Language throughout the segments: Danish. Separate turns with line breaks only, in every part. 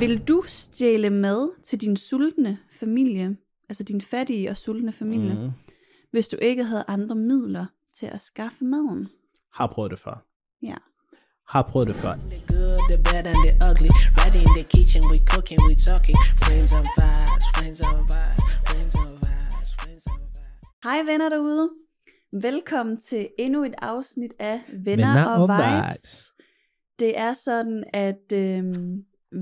Vil du stjæle mad til din sultne familie, altså din fattige og sultne familie, mm.
Mm.
hvis du ikke havde andre midler til at skaffe maden?
Har prøvet det før.
Ja.
Har prøvet det før.
The good, the bad, and the ugly. Right in the kitchen, we cooking, we talking. Friends on vibes, friends on vibes, friends on vibes, friends on vibes.
Hej venner derude. Velkommen til endnu et afsnit af Venner, Venner og, og Vibes. vibes. Det er sådan, at øh,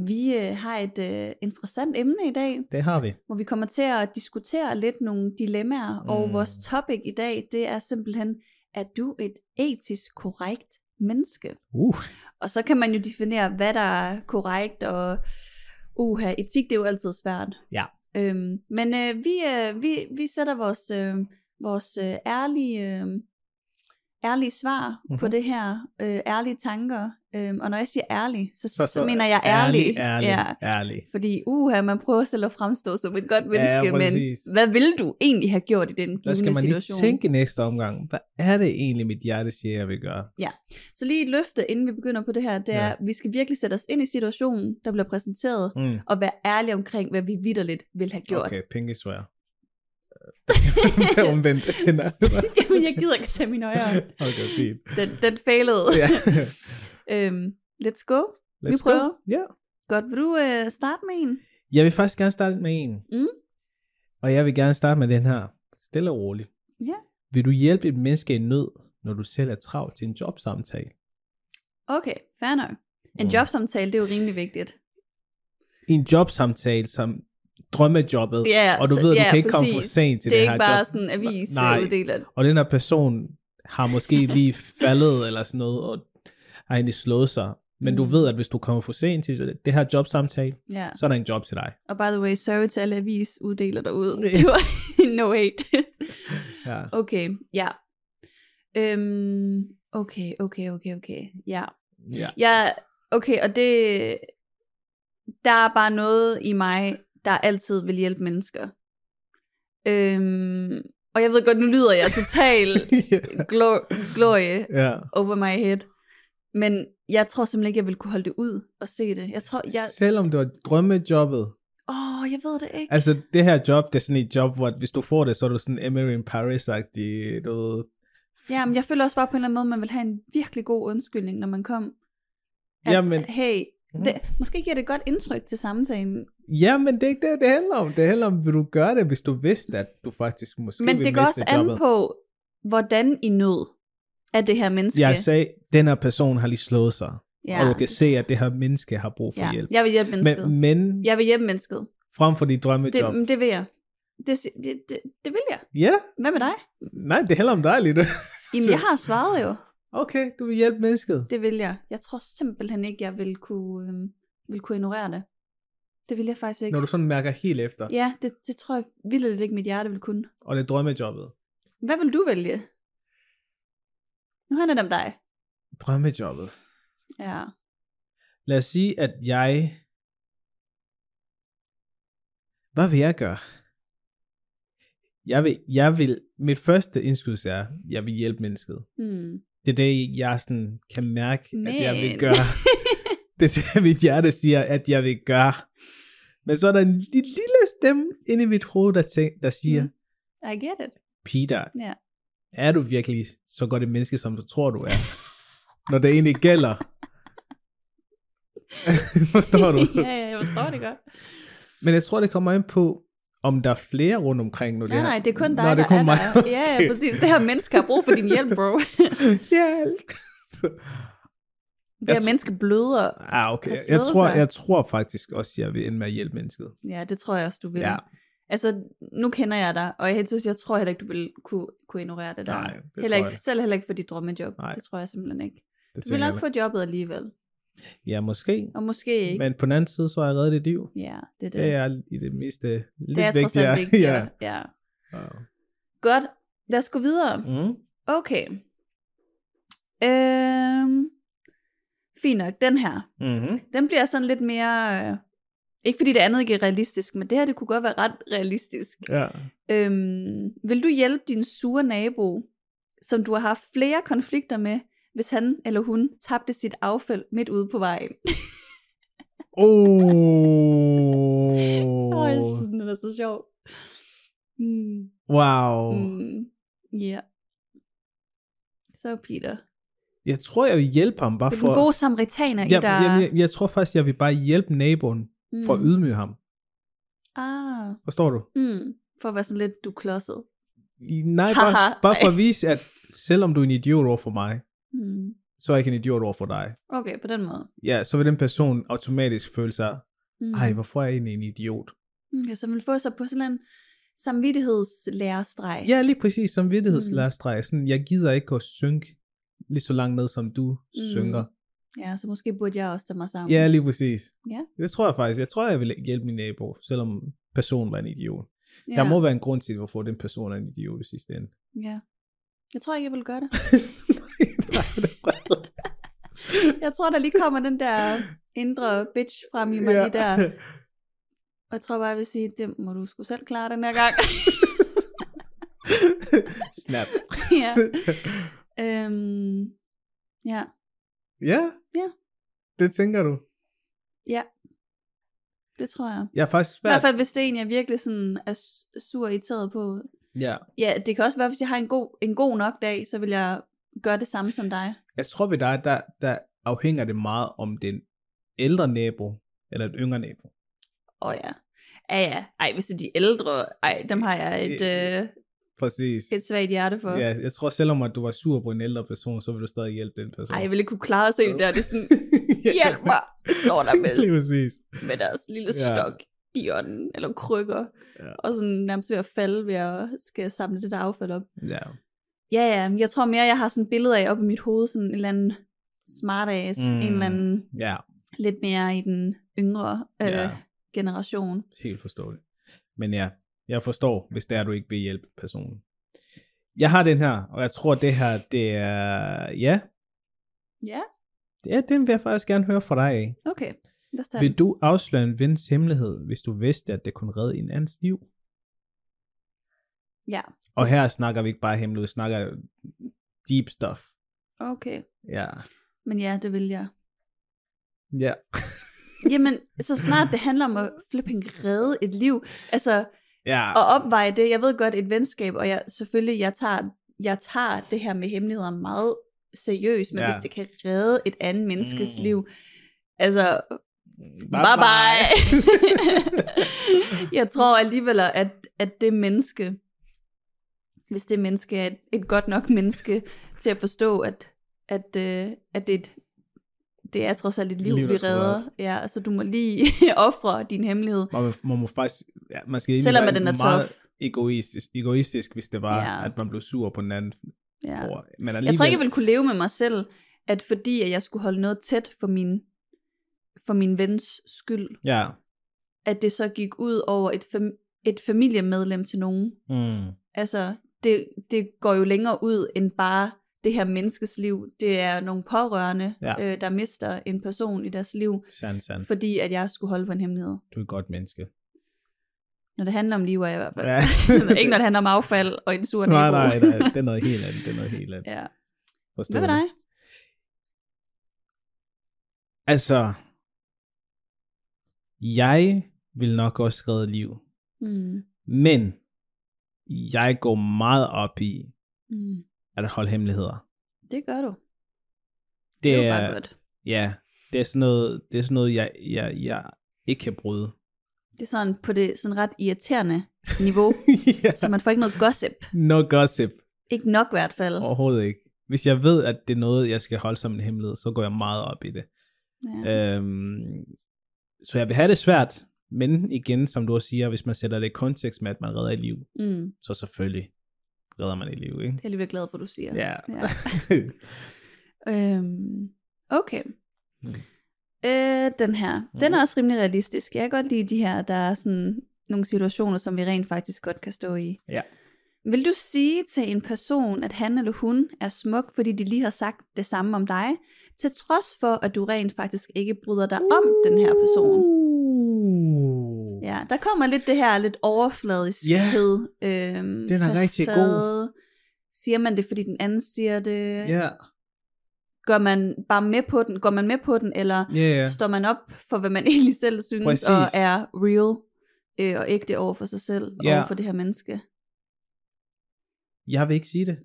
vi øh, har et øh, interessant emne i dag,
Det har vi.
hvor vi kommer til at diskutere lidt nogle dilemmaer, mm. og
Mm.
vores topic i dag, det er simpelthen, er du et etisk korrekt menneske?
Uh.
Og så kan man jo definere, hvad der er korrekt, og uha, etik det er jo altid svært.
Ja.
Øhm, men øh, vi, øh, vi, vi sætter vores, øh, vores øh, ærlige, øh, ærlige svar mm-hmm. på
Mhm.
det her, øh, ærlige tanker. Øhm, og når jeg siger ærlig, så,
Så, så
mener jeg ærlig.
Ærlig,
Ja.
ja. ærlig.
Fordi uha, man prøver selv at fremstå som et godt menneske,
Ja,
men
præcis.
hvad ville du egentlig have gjort i den
Der skal
givne
man lige
situation?
tænke næste omgang. Hvad er det egentlig, mit hjerte siger, jeg vil gøre?
Så lige et løfte, inden vi begynder på det her, det er,
Ja.
at vi skal virkelig sætte os ind i situationen, der bliver præsenteret,
Mm.
og være ærlige omkring, hvad vi vidderligt vil have gjort.
Okay, pinky swear. det er omvendt.
Jamen, jeg gider ikke tage min øjne.
okay, fint.
Den, den failede.
Ja.
øhm, let's go.
Let's
Vi prøver.
Go. Ja.
Godt, vil du øh, starte med en?
Jeg vil faktisk gerne starte med en.
Mm.
Og jeg vil gerne starte med den her. Stille og roligt.
Ja.
Vil du hjælpe et menneske i nød, når du selv er travlt til en jobsamtale?
Okay, fair nok. En
Mm.
jobsamtale, det er jo rimelig vigtigt.
I en jobsamtale som drømmejobbet,
Ja,
og du
så-
ved, at du
ja,
kan ikke komme for
præcis.
sent til
det
det,
er
her
ikke bare
job.
sådan en avis
Nej.
øh, uddeler.
Og den her person har måske lige faldet eller sådan noget, og har egentlig slået sig. Men mm. du
Mm.
ved, at hvis du kommer for sent til det her jobsamtale,
Ja.
så er der en job til dig.
Og by the way, sorry til alle avis uddeler derude. Det var no hate.
Ja.
okay, ja. Øhm, okay, okay, okay, okay. Ja.
ja.
Ja, okay, og det... Der er bare noget i mig, der altid vil hjælpe mennesker. Øhm, og jeg ved godt, nu lyder jeg totalt glo- glorie
ja.
over my head. Men jeg tror simpelthen ikke, jeg vil kunne holde det ud og se det. Jeg tror, jeg...
Selvom du har drømmejobbet,
Åh, oh, jeg ved det ikke.
altså det her job, det er sådan et job, hvor hvis du får det, så er du sådan Emily in Paris-agtig, du ved.
Ja, men jeg føler også bare på en eller anden måde, man vil have en virkelig god undskyldning, når man kom.
Jamen-
Hey,
Mhm.
det, måske giver det et godt indtryk til samtalen,
Ja, men det er ikke det, det handler om. Det handler om, vil du gøre det, hvis du vidste, at du faktisk måske
Men
vil
det går
miste
også an
jobbet.
på, hvordan I nød af det her menneske.
Jeg sagde, den her person har lige slået sig, ja. og du kan se, at det her menneske har brug for
ja.
ja. hjælp.
Jeg vil hjælpe mennesket.
Men, men ja.
Jeg vil hjælpe mennesket.
frem for dit
Det,
drømmejob. Det,
men det vil jeg. Det, si- det, det, det vil jeg.
ja,
Hvad med dig?
nej, det handler om dig lige nu.
Jamen,
Så-
jeg har svaret jo.
Okay, du vil hjælpe mennesket. Det,
Det vil jeg. Jeg tror simpelthen ikke, jeg vil kunne, øh, vil kunne ignorere det. Det vil jeg faktisk ikke.
Når du sådan mærker helt efter, ja.
Ja, det, det tror jeg vildt ikke, mit hjerte vil kunne.
og det er drømmejobbet.
Hvad vil du vælge? Nu handler det om dig.
Drømmejobbet.
Ja.
Lad os sige, at jeg... Hvad vil jeg gøre? Jeg vil, jeg vil, mit første indskydelse er, jeg vil hjælpe mennesket.
Hmm.
Det er det, jeg sådan kan mærke, Men. at jeg
Men.
vil gøre. Det er det, mit hjerte siger, at jeg vil gøre. Men så er der en lille, lille stemme inde i mit hoved, der, tænk, der siger,
Mm. I get it.
Peter,
Ja.
er du virkelig så godt et menneske, som du tror, du er? Når det egentlig gælder. Forstår du?
ja, ja, jeg forstår det godt.
Men jeg tror, det kommer ind på, om der er flere rundt omkring nu.
Nej, nej, det er kun dig,
Nå, det
der
er kun
er
mig.
der. Ja, ja, præcis. Det her menneske har brug for din hjælp, bro.
Hjælp.
Det her
Jeg tr-
menneske bløder.
Ah, okay.
Har
Jeg
slået
tror,
sig.
jeg tror faktisk også, jeg vil ende med at hjælpe mennesket.
Ja, det tror jeg også, du vil.
Ja.
Altså, nu kender jeg dig, og jeg, helt seriøst, jeg tror heller ikke, du vil kunne, kunne ignorere det der.
Nej, det
heller
tror
ikke,
jeg.
Selv heller ikke for dit drømmejob.
Nej.
Det tror jeg simpelthen ikke.
Det
Du vil
tænker
nok
jeg.
få jobbet alligevel.
Ja, måske.
Og måske ikke.
Men på den anden side, så har jeg reddet dit liv.
Ja, det er det.
Det er i det meste lidt
det er trods
vigtigere.
alt vigtigere.
ja.
ja.
Ja.
Godt, lad os gå videre.
Mm.
Okay. Øhm, fint nok, den her.
Mm-hmm.
Den bliver sådan lidt mere... Øh, ikke fordi det andet ikke er realistisk, men det her det kunne godt være ret realistisk.
Ja.
Øhm, vil du hjælpe din sure nabo, som du har haft flere konflikter med, hvis han eller hun tabte sit affald midt ude på vejen?
Oh.
Åh, jeg synes, den er så sjov. Mm,
Wow.
mm, ja. Så Peter.
Jeg tror, jeg vil hjælpe ham bare
Det er
for...
den gode samaritaner i
jeg,
der.
jeg, jeg, jeg tror faktisk, jeg vil bare hjælpe naboen
mm.
for at ydmyge ham.
Ah,
Forstår du?
mm, for at være sådan lidt, du er klodset.
I- Nej, bare,
Haha,
bare for
nej.
at vise, at selvom du er en idiot over for mig,
Mm.
så er jeg ikke en idiot over for dig.
Okay, på den måde.
Ja, så vil den person automatisk føle sig,
Mm.
ej, hvorfor er jeg egentlig en idiot?
Okay, så Mm, altså, man vil få sig på sådan en samvittighedslærerstreg.
Ja, lige præcis, som vidtighedslærerstreg. Sådan, jeg gider ikke at synke lige så langt ned, som du
Mm.
synker.
ja, så måske burde jeg også tage mig sammen.
Ja, lige præcis.
Ja.
Det tror jeg faktisk. Jeg tror, jeg vil hjælpe min nabo, selvom personen var en idiot.
ja.
Der må være en grund til, hvorfor den person er en idiot i sidste ende.
ja. Jeg tror ikke, jeg vil gøre det.
Nej, det tror jeg ikke.
Jeg tror, der lige kommer den der indre bitch frem i mig ja. lige der. Og jeg tror bare, jeg vil sige, det må du sgu selv klare den her gang.
Snap.
ja. Øhm, ja.
ja.
Ja.
Det tænker du.
det tror jeg.
Jeg er faktisk
I hvert
svært.
fald, hvis det er en, jeg virkelig sådan er s- sur og irriteret på.
Ja.
Ja, det kan også være, hvis jeg har en god, en god nok dag, så vil jeg gøre det samme som dig.
Jeg tror ved dig, der, der afhænger det meget om den ældre nabo, eller den yngre nabo.
Åh oh, ja. Ja ja. Ej, hvis det er de ældre, ej, dem har jeg et, øh,
Præcis.
et svagt hjerte for.
Ja, jeg tror selvom at du var sur på en ældre person, så vil du stadig hjælpe den person.
Ej, jeg ville ikke kunne klare at se det der. Det er sådan, hjælp mig, står der med,
Lige præcis.
med deres lille
Ja.
stok i ånden, eller krykker,
Ja.
og sådan nærmest ved at falde ved at skal samle det der affald op.
Ja.
Ja, ja, men jeg tror mere, jeg har sådan et billede af op i mit hoved, sådan en eller anden smart ass,
Mm.
mm. en eller anden
ja,
lidt mere i den yngre øh,
Ja.
generation.
helt forståeligt. Men ja, jeg forstår, hvis det er, du ikke vil hjælpe personen. Jeg har den her, og jeg tror, det her, det er... Ja,
Ja,
det er, den vil jeg faktisk gerne høre fra dig af.
okay. Lad os tage den.
Vil du afsløre en vens hemmelighed, hvis du vidste, at det kunne redde en andens liv?
Ja.
Og her snakker vi ikke bare hemmelighed, vi snakker deep stuff.
Okay.
Ja.
Men ja, det vil jeg.
Ja.
Jamen, så snart det handler om at flipping redde et liv, altså
Ja.
at opveje det, jeg ved godt, et venskab, og jeg, selvfølgelig, jeg tager, jeg tager det her med hemmeligheder meget seriøst, men
Ja.
ja. hvis det kan redde et andet menneskes
Mm.
mm. liv, altså, bye bye. jeg tror alligevel, at, at det menneske, hvis det menneske er et, et godt nok menneske til at forstå, at, at, øh, at det er et det er trods alt et liv,
Liv,
liv
der
vi
skal
redder.
reddes.
Ja, så du må lige ofre din hemmelighed.
Man, må- man må faktisk, ja, man skal egentlig
Selvom
være
at den er
meget
tough.
egoistisk, egoistisk, hvis det var,
Ja.
at man blev sur på den anden.
Ja.
Ja. Over. Men alligevel,
Jeg tror ikke, jeg ville kunne leve med mig selv, at fordi at jeg skulle holde noget tæt for min, for min vens skyld,
Ja.
at det så gik ud over et, fam- et familiemedlem til nogen.
Mm.
Altså, det, det går jo længere ud end bare det her menneskes liv. Det er nogle pårørende,
Ja.
øh, der mister en person i deres liv,
Sand, sand.
fordi at jeg skulle holde på en hemmelighed.
Du er et godt menneske.
Når det handler om liv, er jeg i hvert fald.
Ja.
Ikke når det handler om affald og en sur
nej,
nabo.
nej, nej, det er noget helt andet. Det er noget helt andet.
ja.
Forstår
Hvad med
du?
dig?
Altså, jeg vil nok også redde liv.
Mm.
Men, jeg går meget op i
Mm.
at holde hemmeligheder.
Det gør du.
Det,
Det er jo
er,
bare godt.
ja, det er sådan noget, det er sådan noget jeg, jeg, jeg ikke kan bryde.
Det er sådan på det sådan ret irriterende niveau,
ja.
så man får ikke noget gossip.
No gossip.
Ikke nok i hvert fald.
Overhovedet ikke. Hvis jeg ved, at det er noget, jeg skal holde som en hemmelighed, så går jeg meget op i det.
Ja.
Øhm, så jeg vil have det svært, men igen, som du også siger, hvis man sætter det i kontekst med, at man redder et liv,
Mm.
så selvfølgelig redder man et liv, ikke?
Det er jeg alligevel glad for, du siger.
Ja.
Ja. Øhm, okay.
Mm.
Øh, den her. Den
Mm.
er også rimelig realistisk. Jeg kan godt lide de her, der er sådan nogle situationer, som vi rent faktisk godt kan stå i.
Ja.
Vil du sige til en person, at han eller hun er smuk, fordi de lige har sagt det samme om dig, til trods for, at du rent faktisk ikke bryder dig om den her person?
Uh.
Ja, der kommer lidt det her lidt overfladiskhed. Yeah. Øhm,
Den er rigtig
facade. Siger man det, fordi den anden siger det?
Ja.
Går man bare med på den, går man med på den eller
Ja, ja.
ja. står man op for, hvad man egentlig selv synes,
Præcis.
Præcis. og er real øh, og ægte over for sig selv,
Ja.
ja. over for det her menneske?
Jeg vil ikke sige det.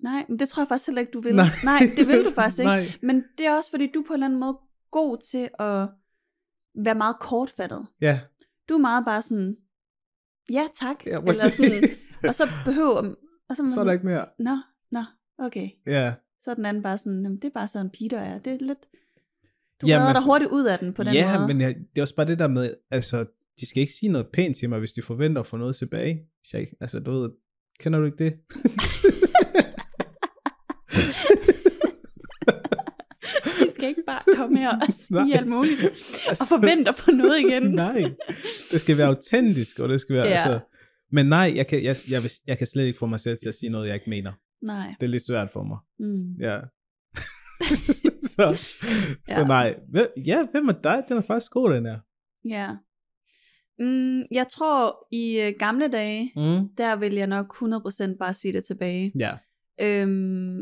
Nej, men det tror jeg faktisk heller ikke, du vil.
Nej.
Nej, Nej det vil du faktisk ikke.
Nej.
Men det er også, fordi du er på en eller anden måde god til at være meget kortfattet.
Ja.
Du er meget bare sådan, ja tak,
ja
eller sådan,
præcis.
og så behøver, og så, er man
så er
sådan,
der ikke mere.
nå, nå, okay.
Ja.
Så er den anden bare sådan, "Jamen, det er bare sådan, Peter er. Det er lidt, du
Jamen,
Jamen, redder dig
altså-
hurtigt ud af den på den
ja,
måde.
men jeg, det er også bare det der med, altså, de skal ikke sige noget pænt til mig, hvis de forventer at få noget tilbage. Hvis jeg ikke, altså, du ved, kender du ikke det?
I skal ikke bare komme her og sige
Nej.
alt muligt,
Altså,
og forvente at få noget igen.
nej, det skal være autentisk, og det skal være, ja.
Ja.
altså, men nej, jeg kan, jeg, jeg, vil, jeg kan slet ikke få mig selv til at sige noget, jeg ikke mener.
Nej.
Det er lidt svært for mig.
Mm.
Ja. så, ja. så
Ja.
nej. Hvem, ja, hvem er dig? Den er faktisk god, den her.
Ja. Mm, jeg tror, i øh, gamle dage,
Mm.
der vil jeg nok 100% bare sige det tilbage.
Ja.
Øhm,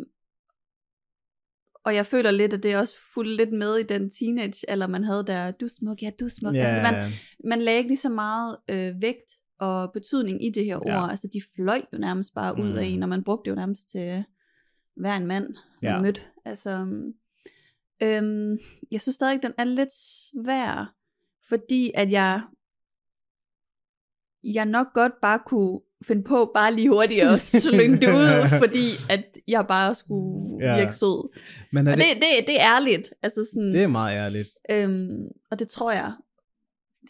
og jeg føler lidt, at det også fulgte lidt med i den teenage, eller man havde der, du er smuk, ja, du er smuk. Altså, man, man lagde ikke lige så meget øh, vægt og betydning i det her
Ja.
ord. Altså, de fløj jo nærmest bare ud af
Mm.
en, og man brugte det jo nærmest til hver en mand, man
Ja.
mødte. Altså, øhm, jeg synes stadig, den er lidt svær, fordi at jeg, jeg nok godt bare kunne finde på bare lige hurtigt at slynge det ud, fordi at jeg bare skulle
Ja.
ja. virke sød.
Men er
Og det,
det,
det, det er ærligt. Altså sådan,
det, er meget ærligt.
Øhm, og det tror jeg,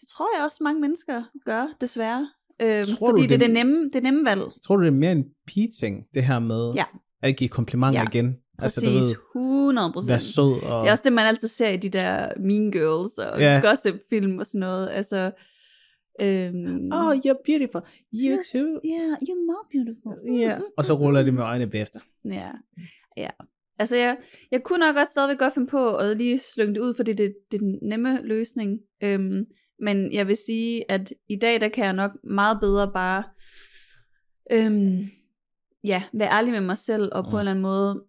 det tror jeg også mange mennesker gør, desværre. Øhm,
Tror
fordi
du,
det er
det-
det nemme, det nemme valg.
Tror du, det er mere en pige-ting, det her med
Ja.
at give komplimenter
Ja,
igen?
Præcis,
du ved,
altså, 100
vær
procent.
sød og...
Det er også det, man altid ser i de der Mean Girls og
Ja.
ja. gossip-film og sådan noget. Altså, øhm,
Oh, you're beautiful. You
Yes.
too.
yeah, you're more beautiful.
Ja. Og så ruller det med øjnene bagefter.
Ja, Mm. ja. Altså, jeg, jeg kunne nok godt stadigvæk godt finde på at lige slynge det ud, fordi det, det er den nemme løsning. Øhm, men jeg vil sige, at i dag, der kan jeg nok meget bedre bare øhm, ja, være ærlig med mig selv, og på
Mm.
en eller anden måde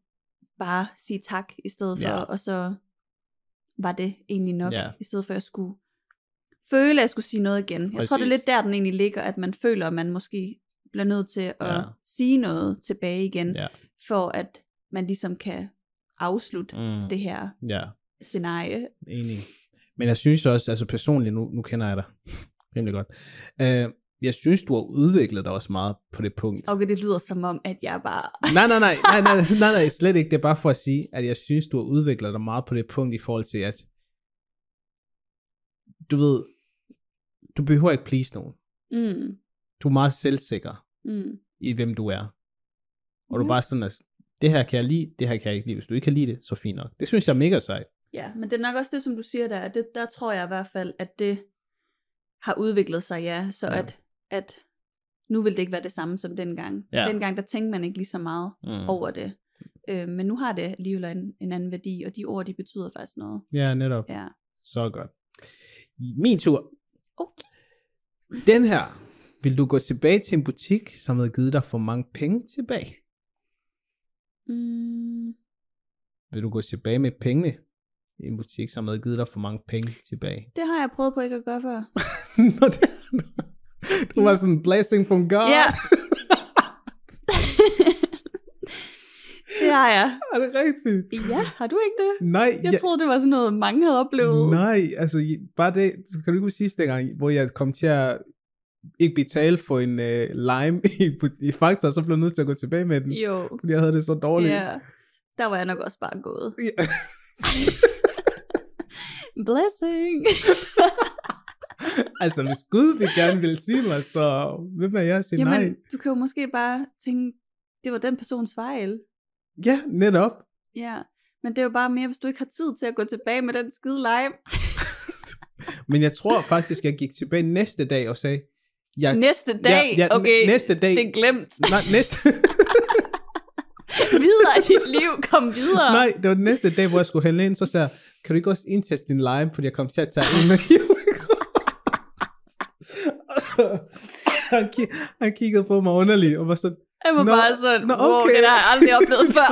bare sige tak i stedet for,
Ja.
ja. og så var det egentlig nok,
Ja.
ja. i stedet for at jeg skulle føle, at jeg skulle sige noget igen. Jeg tror, det er
Præcis.
lidt der, den egentlig ligger, at man føler, at man måske bliver nødt til at
Ja.
ja. sige noget tilbage igen
Ja.
for at man ligesom kan afslutte
Mm.
mm. det her
Ja,
scenarie.
enig. Men jeg synes også, altså personligt, nu, nu kender jeg dig rimelig godt. Øh, jeg synes, du har udviklet dig også meget på det punkt.
Okay, det lyder som om, at jeg bare...
Nej, nej, nej, nej, nej, nej, nej, slet ikke. Det er bare for at sige, at jeg synes, du har udviklet dig meget på det punkt i forhold til, at du ved, du behøver ikke please nogen.
Mm,
Du er meget selvsikker
mm,
i, hvem du er. Og du
Ja.
er bare sådan, at det her kan jeg lide, det her kan jeg ikke lide. Hvis du ikke kan lide det, så fint nok. Det synes jeg er mega sejt.
ja, men det er nok også det, som du siger der, at det, der tror jeg i hvert fald, at det har udviklet sig, ja, så
Ja.
ja. At, at nu vil det ikke være det samme som dengang.
Ja.
Dengang, der tænkte man ikke lige så meget
Mm.
mm. over det. Øh, men nu har det alligevel en, en anden værdi, og de ord, de betyder faktisk noget.
Ja, netop.
Ja.
Så godt. Min tur.
Okay.
Den her. Vil du gå tilbage til en butik, som havde givet dig for mange penge tilbage?
Mm,
Vil du gå tilbage med pengene i en butik, som havde givet dig for mange penge tilbage?
det har jeg prøvet på ikke at gøre før.
Nå, det, du var sådan en blessing from God.
Ja. det har jeg.
Er det rigtigt?
Ja, har du ikke det?
Nej,
Jeg ja. troede, det var sådan noget, mange havde oplevet.
Nej, altså i- bare det, så kan du ikke huske sidste gang, hvor jeg kom til at ikke betale for en øh, lime i, i Fakta, så blev jeg nødt til at gå tilbage med den,
Jo,
fordi jeg havde det så dårligt.
ja. Der var jeg nok også bare gået.
Ja.
Blessing!
altså, hvis Gud vil gerne vil sige mig, så hvem er jeg at sige
Jamen,
nej?
du kan jo måske bare tænke, det var den persons fejl.
Ja, netop.
Ja, men det er jo bare mere, hvis du ikke har tid til at gå tilbage med den skide lime.
Men jeg tror faktisk, jeg gik tilbage næste dag og sagde, jeg,
Næste dag,
ja, ja,
okay,
næste dag,
det er glemt.
nej, næste,
Videre i dit liv, kom videre.
nej, det var den næste dag, hvor jeg skulle handle ind, så sagde jeg, kan du ikke også indteste din lime, fordi jeg kom til at tage en med han, ki- han kiggede på mig underligt, og var sådan,
Jeg var
Nå,
bare sådan,
nå,
wow,
okay."
det har jeg aldrig oplevet før.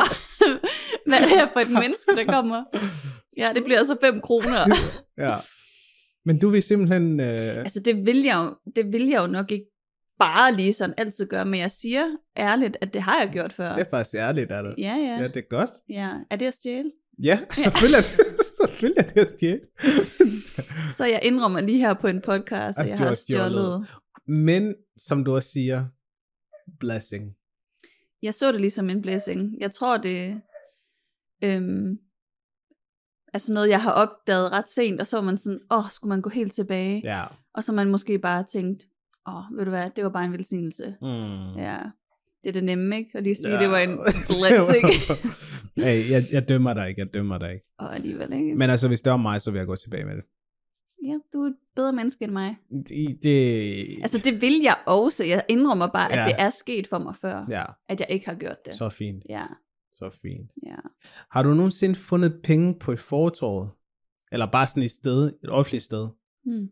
Hvad er det her for et menneske, der kommer? Ja, det bliver altså 5 kroner.
Ja. Men du vil simpelthen... Øh,
Altså, det vil, jeg jo, det vil jeg jo nok ikke bare lige sådan altid gøre, men jeg siger ærligt, at det har jeg gjort før.
det er faktisk ærligt, er det?
Ja,
Ja,
ja,
det er godt.
ja. Er det at stjæle?
Ja, selvfølgelig er det, selvfølgelig er det at stjæle.
Så jeg indrømmer lige her på en podcast,
At
at jeg
du
har
har Altså, stjålet.
stjålet.
Men som du også siger, blessing.
Jeg så det ligesom en blessing. Jeg tror, det øhm, er sådan noget, jeg har opdaget ret sent, og så var man sådan, åh, skulle man gå helt tilbage?
Ja.
Og så har man måske bare tænkt, åh, ved du hvad, det var bare en velsignelse.
Mm.
Ja, det er det nemme, ikke? At lige sige, ja. det var en blessing.
hey, jeg, jeg dømmer dig ikke, jeg dømmer dig ikke.
og alligevel, ikke? Men...
Men altså, hvis det var mig, så vil jeg gå tilbage med det.
Ja, du er et bedre menneske end mig.
Det... det
Altså, det vil jeg også. Jeg indrømmer bare, at
Ja.
ja. det er sket for mig før, ja.
Ja,
at jeg ikke har gjort det. Så...
så fint,
Ja,
så fint.
ja.
Har du nogensinde fundet penge på et fortorvet? Eller bare sådan et sted, et offentligt sted,
Hmm.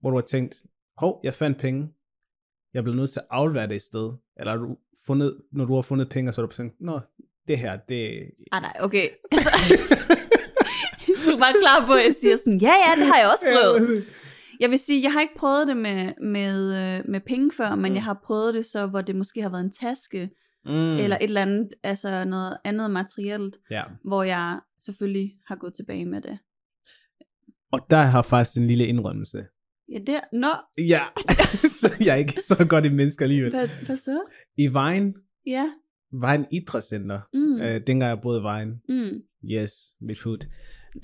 hvor du har tænkt, hov, jeg fandt penge, jeg blev nødt til at aflevere det et sted, eller har du fundet, når du har fundet penge, så har du tænkt, nå, det her, det...
Ah, nej, okay. Altså, du er bare klar på, at jeg siger sådan, ja, ja, det har jeg også prøvet. Jeg vil sige, jeg har ikke prøvet det med, med, øh, med penge før, men
Mm.
jeg har prøvet det så, hvor det måske har været en taske,
Mm.
mm. eller et eller andet, altså noget andet materielt,
Ja.
hvor jeg selvfølgelig har gået tilbage med det.
Og der har jeg faktisk en lille indrømmelse.
Ja, der, nå,
Ja, så jeg er ikke så godt et menneske alligevel.
hvad, hvad så?
I Vejen,
Ja,
Vejen Idrætscenter,
mm,
mm.
øh.
øh, dengang jeg boede i Vejen,
mm,
yes, mit food.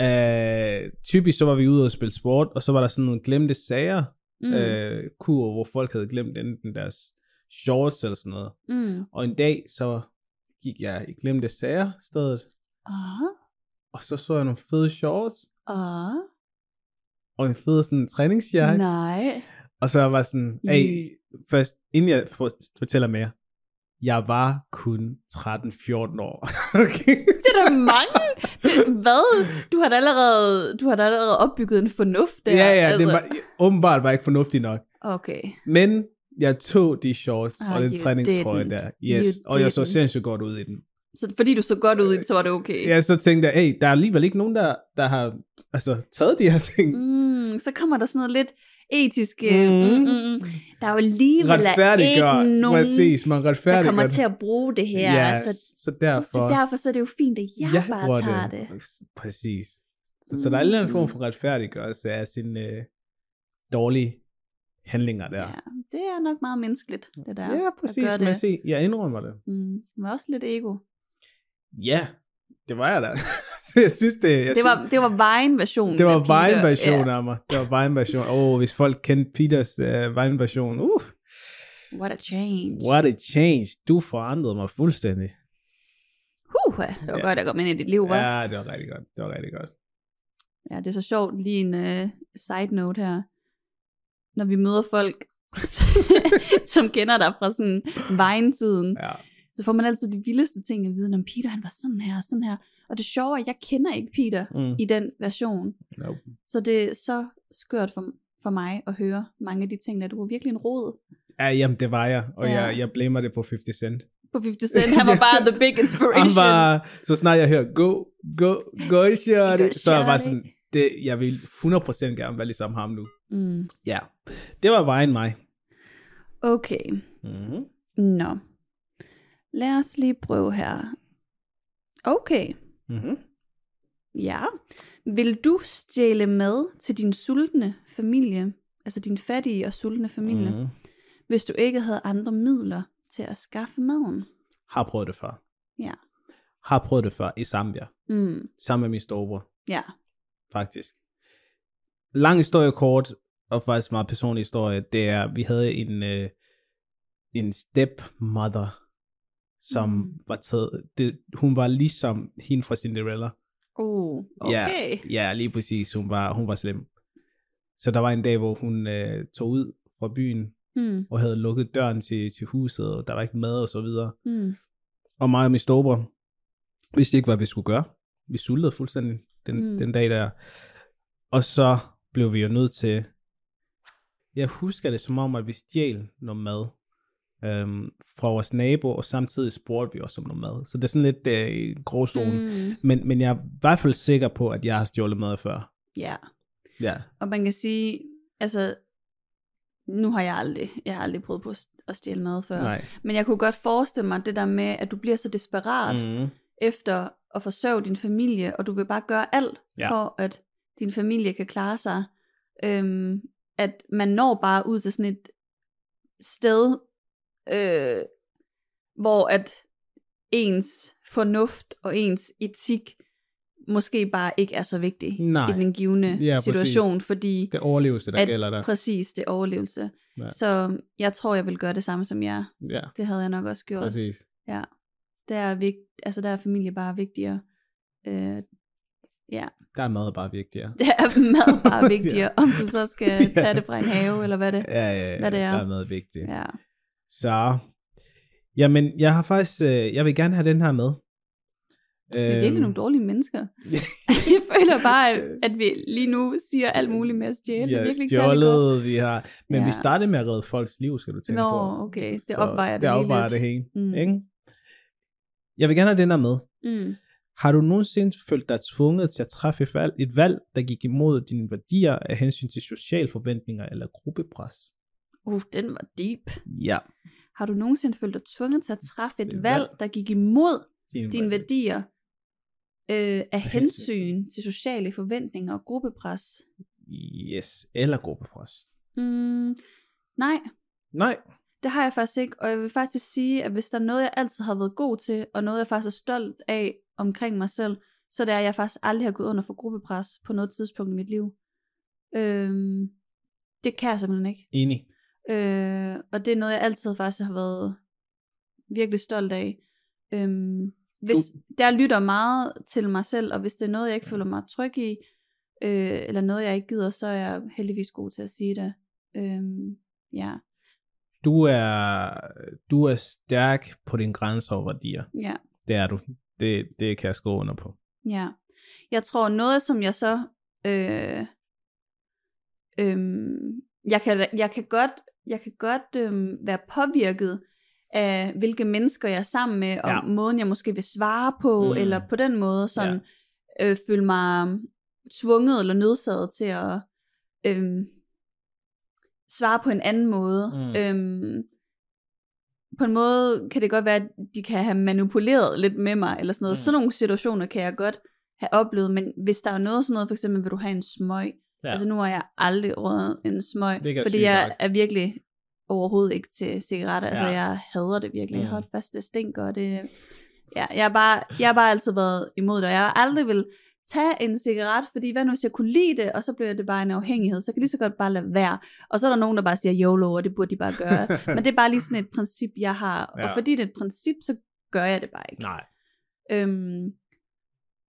Øh, typisk så var vi ude og spille sport, og så var der sådan nogle glemte sager,
mm,
mm.
øh.
øh, kur, hvor folk havde glemt enten deres shorts eller sådan noget.
mm.
Og en dag, så gik jeg i glemte sager stedet,
Åh,
og så så jeg nogle fede shorts,
åh,
og en fed sådan træningsjakke, Nej.
nej.
og så var jeg bare sådan, hey, først, inden jeg for- fortæller mere, jeg var kun 13-14 år. okay.
Det er da mange. Det, hvad? Du har da allerede, du har da allerede opbygget en fornuft der.
ja, ja, altså. det var åbenbart var ikke fornuftigt nok.
Okay.
Men jeg tog de shorts
Ah,
og den
you
træningstrøje
didn't.
der.
You
Yes, og jeg så
didn't. Øh.
sindssygt godt ud i den.
Så fordi du så godt ud i det, så var det okay.
Ja, så tænkte jeg, hey, der er alligevel ikke nogen, der, der har altså, taget de her ting.
Mm, så kommer der sådan noget lidt etisk.
Mhm.
Mm. Mm, mm. Der er jo alligevel
retfærdiggør,
ikke nogen,
præcis, man retfærdiggør
der kommer
det.
til at bruge det her. Altså,
ja,
så,
så derfor,
så derfor så er det jo fint, at jeg ja, bare
bruger
tager det. Mm.
Præcis. Så, så der er en eller anden form for retfærdiggørelse af sine øh, dårlige handlinger der.
Ja, det er nok meget menneskeligt, det der.
ja præcis,
at gøre
men
det.
se, jeg indrømmer det.
Mm, men også lidt ego.
Ja, det var jeg da. så jeg synes det, jeg
Det var,
synes,
det var vejen-versionen.
det var
af Peter.
Vine-version
Ja.
af mig. Det var Vine-version. Åh, oh, hvis folk kendte Peters øh, Vine-version. Uh,
What a change.
what a change. Du forandrede mig fuldstændig.
Huh, det var
Ja.
ja. godt at komme ind i dit liv, hva'? Ja.
Ja, det var rigtig godt. Det var rigtig godt.
ja, det er så sjovt, lige en uh, side note her. Når vi møder folk, som kender dig fra sådan vejentiden,
Ja.
så får man altid de vildeste ting at vide om Peter, han var sådan her og sådan her. Og det sjove er, at jeg kender ikke Peter
Mm.
i den version.
Nope.
Så det er så skørt for, for mig at høre mange af de ting, der du var virkelig en rod
Ja, jamen det var jeg, og ja.
Ja.
jeg, jeg blamer det på 50 Cent.
på 50 Cent. Han var bare the big
Han
inspiration.
var, så snart jeg hører, go, go, go, shorty,
Go,
så jeg var
shorty.
sådan, det, jeg vil 100% gerne være ligesom ham nu.
Mm.
Ja, det var vejen mig.
Okay,
Mm-hmm.
nå. Lad os lige prøve her. Okay.
Mm-hmm.
Ja. Vil du stjæle mad til din sultne familie, altså din fattige og sultne familie, mm.
Mm-hmm.
hvis du ikke havde andre midler til at skaffe maden?
Har prøvet det før.
Ja.
Har prøvet det før i Zambia,
Mm.
sammen med min storebror,
Ja.
faktisk. Lang historie kort, og faktisk meget personlig historie, det er, vi havde en, øh, en stepmother, som mm.
Mm.
var taget, det, hun var ligesom hende fra Cinderella.
Oh,
Ja.
okay. Yeah.
Ja, lige præcis. Hun var, hun var slem. Så der var en dag, hvor hun øh, tog ud fra byen
Mm.
og havde lukket døren til, til huset, og der var ikke mad og så videre.
Mm.
Og mig og min storebror vidste ikke, hvad vi skulle gøre. Vi sultede fuldstændig den, mm.
Mm.
den dag der. Og så blev vi jo nødt til... Jeg husker det som om, at vi stjal noget mad. øhm, fra vores nabo, og samtidig spurgte vi også om noget mad. Så det er sådan lidt øh, i gråzonen. Mm.
Mm,
Men, men jeg er i hvert fald sikker på, at jeg har stjålet mad før.
ja,
Ja.
og man kan sige, altså, nu har jeg aldrig, jeg har aldrig prøvet på at st- at stjæle mad før.
Nej.
Men jeg kunne godt forestille mig det der med, at du bliver så desperat mm.
Mm.
efter at forsørge din familie, og du vil bare gøre alt
Ja.
ja. for, at din familie kan klare sig. Øhm, at man når bare ud til sådan et sted, øh, hvor at ens fornuft og ens etik måske bare ikke er så vigtig
Nej.
i den givende
Ja,
ja,
præcis.
situation, fordi
Det er overlevelse, der
At-
gælder der.
præcis det er overlevelse.
Ja.
Ja. Så øhm, jeg tror, jeg vil gøre det samme som jer.
Ja,
Det havde jeg nok også gjort.
præcis.
Der er, vigt, altså der er familie bare vigtigere. Øh,
Der er mad bare vigtigere.
der er mad bare vigtigere, om du så
Ja.
skal tage det fra en have, eller hvad det
Ja, ja, ja.
Hvad det er.
Der er mad vigtigt.
Ja.
Så, jamen, jeg har faktisk, øh, jeg vil gerne have den her med. Øh, Øhm,
Vi er virkelig nogle dårlige mennesker. jeg føler bare, at vi lige nu siger alt muligt med at stjæle.
Vi
det er
har
virkelig ikke særlig godt.
stjålet, vi har, men ja. vi
Ja.
startede med at redde folks liv, skal du tænke
Nå,
på.
okay. Det
Så
opvejer det
det
lige
opvejer
lidt.
det hele. Mm.
Mm.
Ikke? Jeg vil gerne have den her med.
Mm.
Har du nogensinde følt dig tvunget til at træffe et valg, et valg, der gik imod dine værdier af hensyn til sociale forventninger eller gruppepres?
Uh, den var deep.
Ja.
Har du nogensinde følt dig tvunget til at træffe
Et
et valg, der gik imod
Din,
dine værdier øh, af
hensyn.
hensyn til sociale forventninger og gruppepres?
Yes, eller gruppepres.
Mm, nej,
Nej.
Det har jeg faktisk ikke, og jeg vil faktisk sige, at hvis der er noget, jeg altid har været god til, og noget, jeg faktisk er stolt af omkring mig selv, så det er, at jeg faktisk aldrig har gået under for gruppepres på noget tidspunkt i mit liv. Øhm, det kan jeg simpelthen ikke.
Enig.
Øh, og det er noget, jeg altid faktisk har været virkelig stolt af. Øhm, hvis der lytter meget til mig selv, og hvis det er noget, jeg ikke føler mig tryg i, øh, eller noget, jeg ikke gider, så er jeg heldigvis god til at sige det. Øhm, ja,
Du er, du er stærk på dine grænser og værdier.
ja.
Det er du. Det, det kan jeg skrive under på.
Ja. Jeg tror noget, som jeg så... Øh, øh, jeg, kan, jeg kan godt, jeg kan godt øh, være påvirket af, hvilke mennesker jeg er sammen med, og
Ja.
ja. måden, jeg måske vil svare på,
Mm.
mm. eller på den måde, sådan ja. øh, føle mig tvunget eller nødsaget til at øh, svare på en anden måde.
Mm.
Øh, på en måde kan det godt være, at de kan have manipuleret lidt med mig, eller sådan noget.
Mm.
Mm. Sådan nogle situationer kan jeg godt have oplevet, men hvis der er noget sådan noget, for eksempel, vil du have en smøg?
Ja.
Ja. Altså nu har jeg aldrig røget en smøg,
Det kan jeg
fordi
sygt
jeg
nok.
er virkelig overhovedet ikke til cigaretter. Ja. Altså
Ja.
jeg hader det virkelig.
Mm.
Mm. Hold fast, det stinker, og det... Ja, jeg har bare, jeg har bare altid været imod det, og jeg har aldrig vil tage en cigaret, fordi hvad nu hvis jeg kunne lide det, og så bliver det bare en afhængighed, så kan jeg lige så godt bare lade være. Og så er der nogen, der bare siger YOLO, og det burde de bare gøre. Men det er bare lige sådan et princip, jeg har. Ja.
Ja.
Og fordi det er et princip, så gør jeg det bare ikke.
Nej.
Øhm,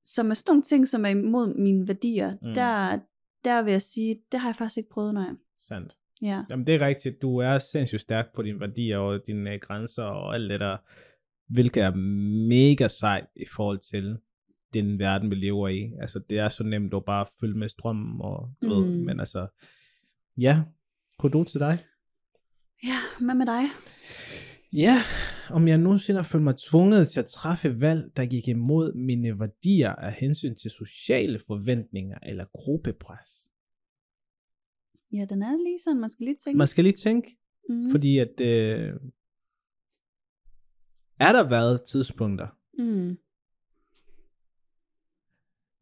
så med sådan nogle ting, som er imod mine værdier,
Mm.
mm. der, der vil jeg sige, det har jeg faktisk ikke prøvet, når jeg...
Sandt.
Ja.
Jamen, det er rigtigt. Du er sindssygt stærk på dine værdier og dine øh, grænser og alt det der, hvilket er mega sejt i forhold til den verden, vi lever i. Altså, det er så nemt at bare følge med strømmen og du mm. ved,
Mm.
men altså, ja, kudo til dig.
ja, hvad med dig?
Ja, om jeg nogensinde har følt mig tvunget til at træffe valg, der gik imod mine værdier af hensyn til sociale forventninger eller gruppepres.
Ja, den er lige sådan, man skal lige tænke.
Man skal lige tænke,
mm.
Fordi at, øh, er der været tidspunkter?
Mm.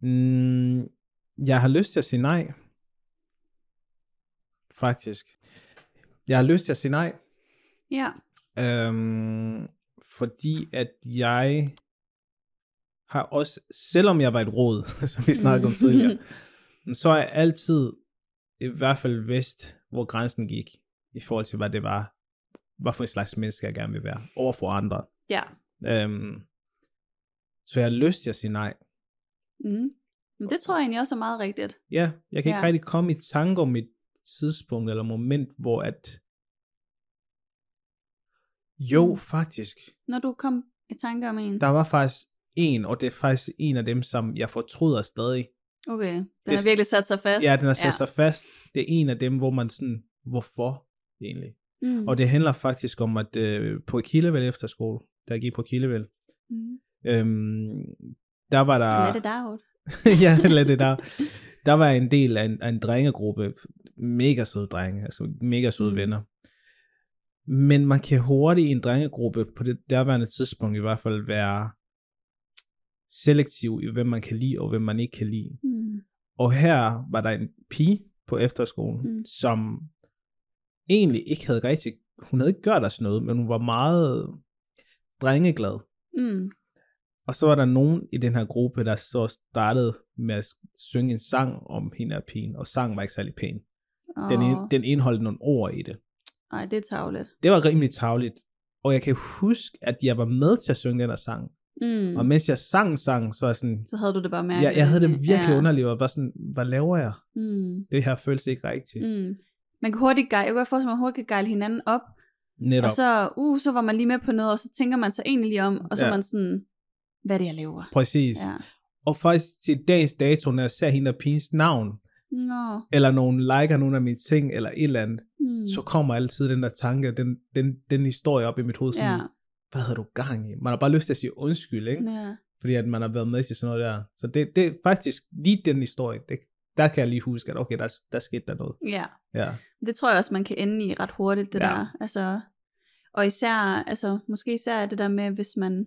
Mm, jeg har lyst til at sige nej. Faktisk. Jeg har lyst til at sige nej,
Ja,
øhm, fordi at jeg har også, selvom jeg var et råd, som vi snakkede om
Mm.
tidligere, så har jeg altid i hvert fald vidst, hvor grænsen gik, i forhold til, hvad det var, hvad for en slags menneske jeg gerne vil være, over for andre.
ja.
Øhm, så jeg har lyst til at sige nej.
Mm. Men det tror jeg egentlig også er meget rigtigt.
Ja, jeg kan ja.
Ja.
ikke rigtig komme i tanke om et tidspunkt eller moment, hvor at... Jo, mm.
Mm.
faktisk.
Når du kom i tanke om en.
Der var faktisk en, og det er faktisk en af dem, som jeg fortryder stadig.
Okay, den
Det-
har virkelig sat sig fast.
Ja, den har sat ja. sig fast. Det er en af dem, hvor man sådan, hvorfor egentlig?
Mm.
Og det handler faktisk om, at øh, på Kilevæld efterskole, der gik på Kilevæld,
Mm.
øhm, der var der...
Let it out.
ja, lad det der. Der var jeg en del af en, af en drengegruppe, mega søde drenge, altså mega søde
Mm.
mm. venner. Men man kan hurtigt i en drengegruppe, på det derværende tidspunkt i hvert fald, være selektiv i, hvem man kan lide og hvem man ikke kan lide.
Mm.
Og her var der en pige på efterskolen,
Mm.
mm. som egentlig ikke havde rigtig, hun havde ikke gjort os noget, men hun var meget drengeglad.
Mm.
Og så var der nogen i den her gruppe, der så startede med at synge en sang om hende og pigen, og sangen var ikke særlig pæn.
Og,
Den, ind, den indeholdt nogle ord i det.
Ej, det er tavlet.
Det var rimelig tavligt. Og jeg kan huske, at jeg var med til at synge den her sang. Mm.
Mm.
Og mens jeg sang sangen, så var jeg sådan,
så havde du det bare mærket.
jeg, jeg havde det virkelig
ja.
ja. underligt, og var bare sådan, hvad laver jeg?
Mm.
Det her føles ikke rigtigt. Mm.
Mm. Man kan hurtigt gejle, jeg kan godt forestille mig, at man hurtigt kan gejle hinanden op,
Netop.
og så, uh, så var man lige med på noget, og så tænker man sig egentlig lige om, og så ja.
Ja.
er man sådan, hvad er det, jeg laver?
Præcis. Ja.
Ja.
Og faktisk til dagens dato, når jeg ser hende og pigens navn,
Nå.
eller nogen liker nogle af mine ting, eller et eller andet,
Mm.
så kommer altid den der tanke, og den, den, den historie op i mit hoved, sådan,
ja.
ja. hvad havde du gang i? Man har bare lyst til at sige undskyld, ikke?
ja.
Fordi at man har været med til sådan noget der. Så det, det er faktisk lige den historie, det, der kan jeg lige huske, at okay, der, der skete der noget.
Ja.
Ja,
Det tror jeg også, man kan ende i ret hurtigt, det ja.
Ja.
der. Altså, og især, altså, måske især det der med, hvis man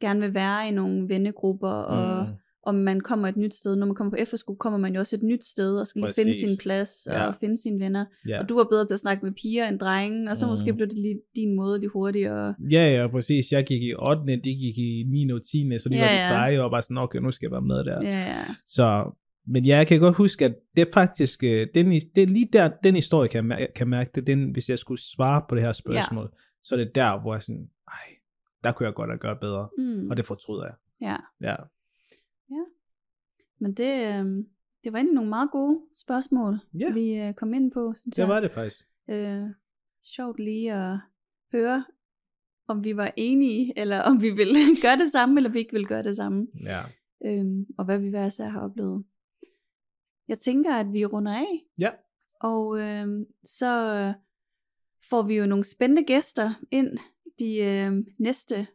gerne vil være i nogle vennegrupper, og mm.
Mm.
om man kommer et nyt sted. Når man kommer på efterskole, kommer man jo også et nyt sted, og skal lige finde
Præcis.
sin plads, og
Ja.
finde sine venner.
ja.
Og du var bedre til at snakke med piger end drenge, og så mm.
Mm.
måske blev det lige din måde lige hurtigere.
ja, ja, præcis. Jeg gik i 8. De gik i 9. og 10. Så de
Ja,
ja, var
ja.
de seje, og bare sådan, okay, nu skal jeg være med der.
Ja, ja.
Så, men ja, jeg kan godt huske, at det er faktisk, øh, den, his- det er lige der, den historie kan, jeg mær- kan mærke, det er den, hvis jeg skulle svare på det her spørgsmål, ja. så er det der, hvor jeg sådan, ej, der kunne jeg godt have gjort bedre,
Mm.
og det fortryder jeg.
Ja.
Ja,
Men det, øh, det var egentlig nogle meget gode spørgsmål,
Ja.
vi øh, kom ind på, synes
det
jeg.
var det faktisk.
øh, sjovt lige at høre, om vi var enige, eller om vi ville gøre det samme, eller vi ikke ville gøre det samme,
Ja.
øh, og hvad vi hver især har oplevet. Jeg tænker, at vi runder af,
Ja.
og øh, så øh, får vi jo nogle spændende gæster ind de øh, næste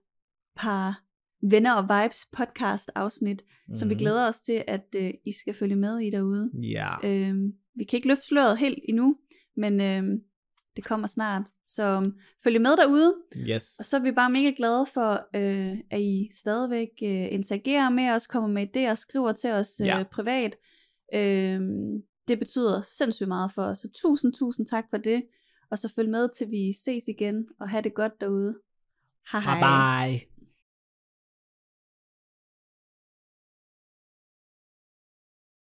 par Venner og Vibes podcast afsnit, mm-hmm.
Mm.
som vi glæder os til, at øh, I skal følge med i derude.
Ja,
Øhm, vi kan ikke løfte sløret helt endnu, men øhm, det kommer snart. Så øhm, følg med derude,
yes.
og så er vi bare mega glade for, øh, at I stadigvæk øh, interagerer med os, kommer med idéer og skriver til os øh, ja.
Ja.
privat. Øhm, det betyder sindssygt meget for os, så tusind, tusind tak for det. Og så følg med, til vi ses igen, og have det godt derude. Hej hej.
Bye bye.